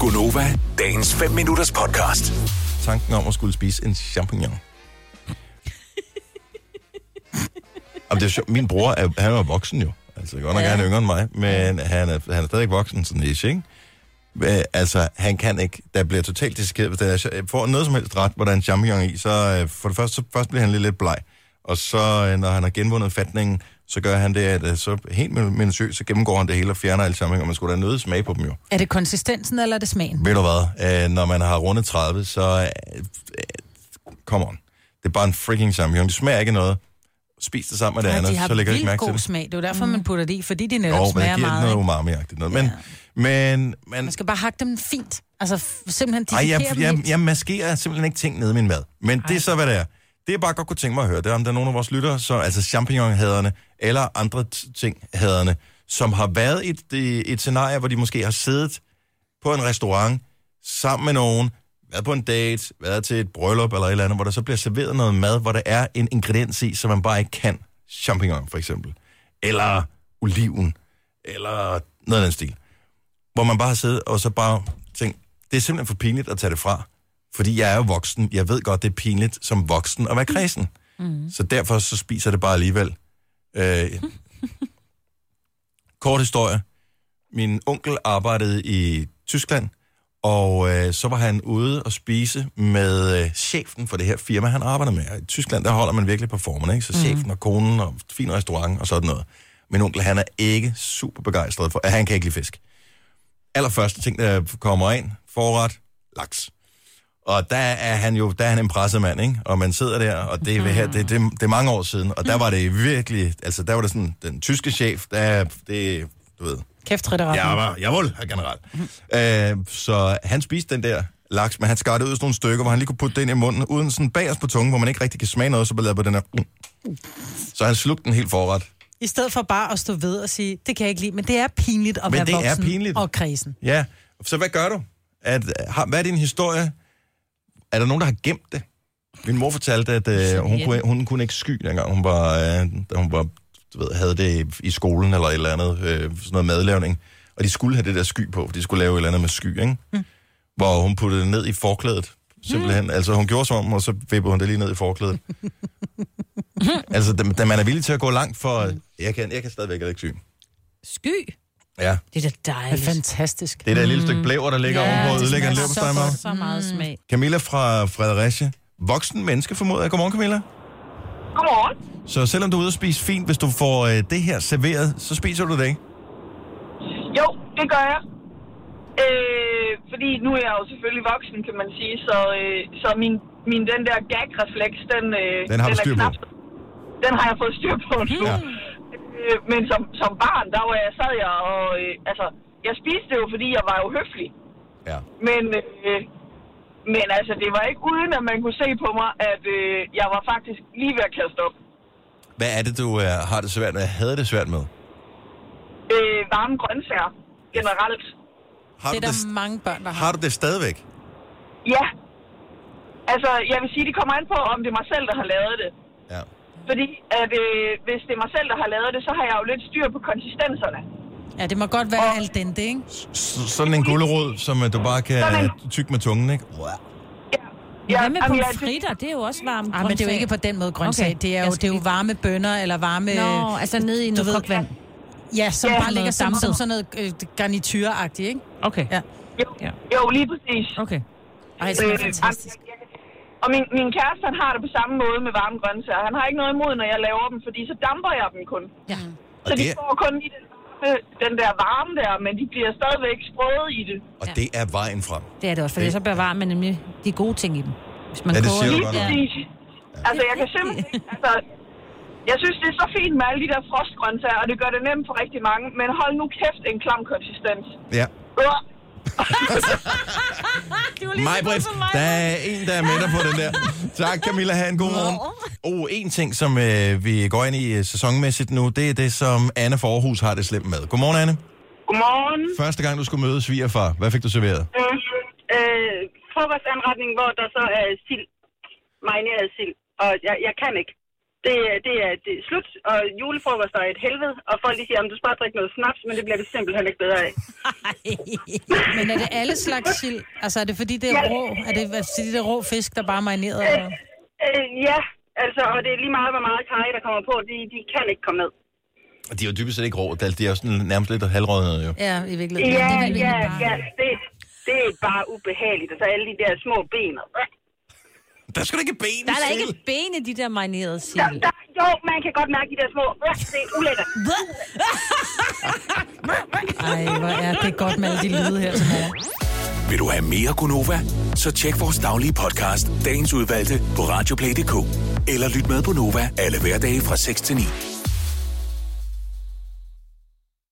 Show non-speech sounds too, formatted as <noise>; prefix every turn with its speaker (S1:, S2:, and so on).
S1: Gunova, dagens 5 minutters podcast.
S2: tanken om at skulle spise en champignon. Jamen, det er sjovt. Min bror, er, han er jo voksen jo. Altså, godt nok ja. er han yngre end mig, men han er, han er stadig voksen, sådan ish, ikke? Øh, Altså, han kan ikke, der bliver totalt dissekeret, hvis der er, får noget som helst ret, hvor der er en champignon i, så øh, for det første, så først bliver han lidt, lidt bleg, og så, øh, når han har genvundet fatningen, så gør han det, at øh, så helt minutiøst, så gennemgår han det hele og fjerner alle champignoner, man skulle da nødt til at smage på dem jo.
S3: Er det konsistensen, eller er det smagen?
S2: Ved du hvad, øh, når man har rundet 30, så... Øh, øh, come on. Det er bare en freaking champignon. Det smager ikke af noget. Spis det sammen med det
S3: Nej,
S2: andet,
S3: de har
S2: så lægger jeg ikke
S3: vildt
S2: mærke til
S3: god
S2: det.
S3: smag. Det er jo derfor, man putter det i, fordi de netop
S2: Jo,
S3: jo,
S2: men det
S3: smager
S2: giver den noget
S3: meget. ikke?
S2: umami-agtigt noget. Men, men, men
S3: Man skal bare hakke dem fint. Altså f- simpelthen
S2: ej,
S3: dissekere
S2: jeg,
S3: dem
S2: jeg,
S3: lidt.
S2: jeg maskerer simpelthen ikke ting nede i min mad. Men Ej. det er så, hvad det er. Det jeg bare godt kunne tænke mig at høre, det er, om der er nogen af vores lyttere, så, altså champignonhaderne, eller andre t- ting haderne, som har været i et, et, et scenarie, hvor de måske har siddet på en restaurant sammen med nogen, været på en date, været til et bryllup eller et eller andet, hvor der så bliver serveret noget mad, hvor der er en ingrediens i, som man bare ikke kan. Champignon for eksempel. Eller oliven. Eller noget af den stil hvor man bare har siddet og så bare tænkt, det er simpelthen for pinligt at tage det fra. Fordi jeg er jo voksen. Jeg ved godt, det er pinligt som voksen at være kredsen. Mm. Så derfor så spiser jeg det bare alligevel. Øh, kort historie. Min onkel arbejdede i Tyskland, og øh, så var han ude og spise med øh, chefen for det her firma, han arbejder med. Og I Tyskland, der holder man virkelig performerne, ikke? Så chefen og konen og fin restaurant og sådan noget. Min onkel, han er ikke super begejstret for, at han kan ikke lide fisk allerførste ting, der kommer ind, forret, laks. Og der er han jo, der er han en presset mand, ikke? Og man sidder der, og det, er, her, det, det, det er mange år siden, og der var det virkelig, altså der var det sådan, den tyske chef, der, det, du ved,
S3: Kæft, rigtig ret.
S2: jeg var, jeg var herr general. Øh, så han spiste den der laks, men han skar det ud i sådan nogle stykker, hvor han lige kunne putte den i munden, uden sådan bagerst på tungen, hvor man ikke rigtig kan smage noget, så blev på den her. Så han slugte den helt forret.
S3: I stedet for bare at stå ved og sige, det kan jeg ikke lide, men det er pinligt at
S2: Men
S3: være
S2: det er
S3: voksen
S2: pinligt.
S3: og kredsen.
S2: Ja, så hvad gør du? At, har, hvad er din historie? Er der nogen, der har gemt det? Min mor fortalte, at øh, hun, kunne, hun kunne ikke sky, dengang hun var, øh, da hun var, du ved, havde det i- i skolen eller et eller andet, øh, sådan noget madlavning. Og de skulle have det der sky på, for de skulle lave et eller andet med sky, ikke?
S4: Hm.
S2: Mm. Hvor hun puttede det ned i forklædet, simpelthen. Mm. Altså hun gjorde som om, og så vippede hun det lige ned i
S4: <laughs>
S2: forklædet. altså, da, da man er villig til at gå langt for, jeg kan, jeg kan stadigvæk ikke sy.
S4: Sky.
S2: Ja,
S4: Det er da
S3: Det er
S4: dejligt.
S3: fantastisk.
S2: det er der lille stykke blæver, der ligger ja, ovenpå,
S4: det
S2: ødelægger en
S4: smager så
S2: leverpostej med.
S4: godt, Så meget
S3: Mm.
S4: smag.
S2: Camilla fra Fredericia. Voksen menneske, formoder jeg. Godmorgen, Camilla.
S5: Godmorgen.
S2: Så selvom du er ude at spise fint, hvis du får øh, det her serveret, så spiser du det ikke.
S5: Jo, det gør jeg. Øh, fordi nu er jeg jo selvfølgelig voksen, kan man sige, så, øh, så min, min den der gag-refleks, den, øh,
S2: Den har du
S5: den
S2: styr på.
S5: så- Den har jeg fået styr på nu.
S2: Ja.
S5: Ja. Øh, men som, som barn, der var jeg, sad jeg og... Øh, altså, jeg spiste det jo, fordi jeg var jo høflig.
S2: Ja.
S5: Men, øh, men altså, det var ikke uden, at man kunne se på mig, at øh, jeg var faktisk lige ved at kaste op.
S2: Hvad er det, du øh, har det svært med? Havde det svært med?
S5: Øh, varme grøntsager, generelt.
S2: Har,
S3: Det
S2: du
S3: er
S2: det,
S3: der mange børn, der har.
S2: har du det stadigvæk?
S5: Ja. Altså, jeg vil sige, det kommer an på, om det er mig selv, der har lavet det.
S2: Ja.
S5: Fordi at, øh, hvis det er mig selv, der har lavet det, så har jeg jo lidt styr på konsistenserne.
S3: Ja, det må godt være alt den, det, ikke?
S2: S- sådan en gullerod, som øh, du bare kan øh, tygge med tungen, ikke?
S4: Ja, Hvad med
S5: jamen, jeg-
S4: pomfritter? Det er jo også varmt.
S3: Ej, Ah, men det er jo ikke på den måde grøntsag. Okay.
S4: Okay.
S3: Det, er jo,
S4: Jeg
S3: det er jo
S4: skal-
S3: varme bønner eller varme...
S4: Nå, altså ned i
S3: du
S4: noget
S3: ved-
S4: kogt vand.
S3: Ja, som
S5: Ja.
S3: bare ligger
S4: Noget
S3: som, som
S4: dampet.
S3: sådan noget øh, garnityragtigt, ikke?
S4: Okay.
S3: Ja.
S5: Jo,
S4: Ja.
S5: ja. jo lige præcis.
S4: Okay. Ej, det
S5: Øh,
S4: er fantastisk.
S5: jamen, jeg- jeg- Og min, min kæreste, han har det på samme måde med varme grøntsager. Han har ikke noget imod, når jeg laver dem, fordi så damper jeg dem kun.
S4: Ja.
S2: Og
S5: Så de
S2: det, er-
S5: får kun i den, varme- den der varme der, men de bliver stadigvæk sprøde i det.
S2: og det er vejen frem.
S4: Det er det også, for det så bevarer man nemlig de gode ting i dem. Hvis man
S2: Ja, det
S4: koger
S2: siger du
S4: dem.
S5: Lige
S2: godt nok.
S5: præcis. Altså, jeg kan simpelthen ikke- altså, jeg synes, det er så fint med alle de der frostgrøntsager, og det gør det nemt for rigtig mange, men hold nu kæft en klam konsistens.
S2: Ja.
S5: Øh,
S2: Mig, Britt, der er en, der er med dig på den der. Tak, Camilla. Ha' en god morgen. Oh, en ting, som øh, vi går ind i øh, sæsonmæssigt nu, det er det, som Anne fra Aarhus har det slemt med. Godmorgen, Anne.
S6: Godmorgen.
S2: Første gang, du skulle møde svigerfar, hvad fik du serveret?
S6: Øh, øh, frokostanretning, hvor der så er sild. Marineret sild. Og jeg, jeg kan ikke. Det, er- det, er, det er slut, og julefrokoster er et helvede, og folk de siger, at du skal bare drikke noget snaps, men det bliver vi simpelthen ikke bedre af.
S3: Men er det alle slags sild? Altså, er det fordi, det er rå? Er det fordi, det er rå fisk, der bare er marineret? Eller?
S6: Øh, ja, altså, og det er lige meget, hvor meget kaj, der kommer på, de, de kan ikke komme ned.
S2: Og de er jo dybest set ikke rå. De er jo sådan nærmest lidt halvrødnede jo.
S3: Ja, i virkeligheden.
S6: Ja,
S3: det vil vi
S6: ja,
S3: egentlig
S6: ja,
S3: bare.
S6: det, det er bare ubehageligt, og så alle de der små ben. og-
S2: Der skal da ikke ben
S4: Der er da
S2: i
S4: ikke
S2: sild.
S4: ben i de der marinerede
S6: Der, <laughs>
S4: sild.
S6: der, jo, man kan godt mærke de der små, det er ulækkert.
S3: Ej, hvor er det godt med alle de lyde her til morgen.
S1: Vil du have mere Gunova? Så tjek vores daglige podcast, dagens udvalgte, på radioplay.dk. Eller lyt med på Nova alle hverdage fra 6 til 9.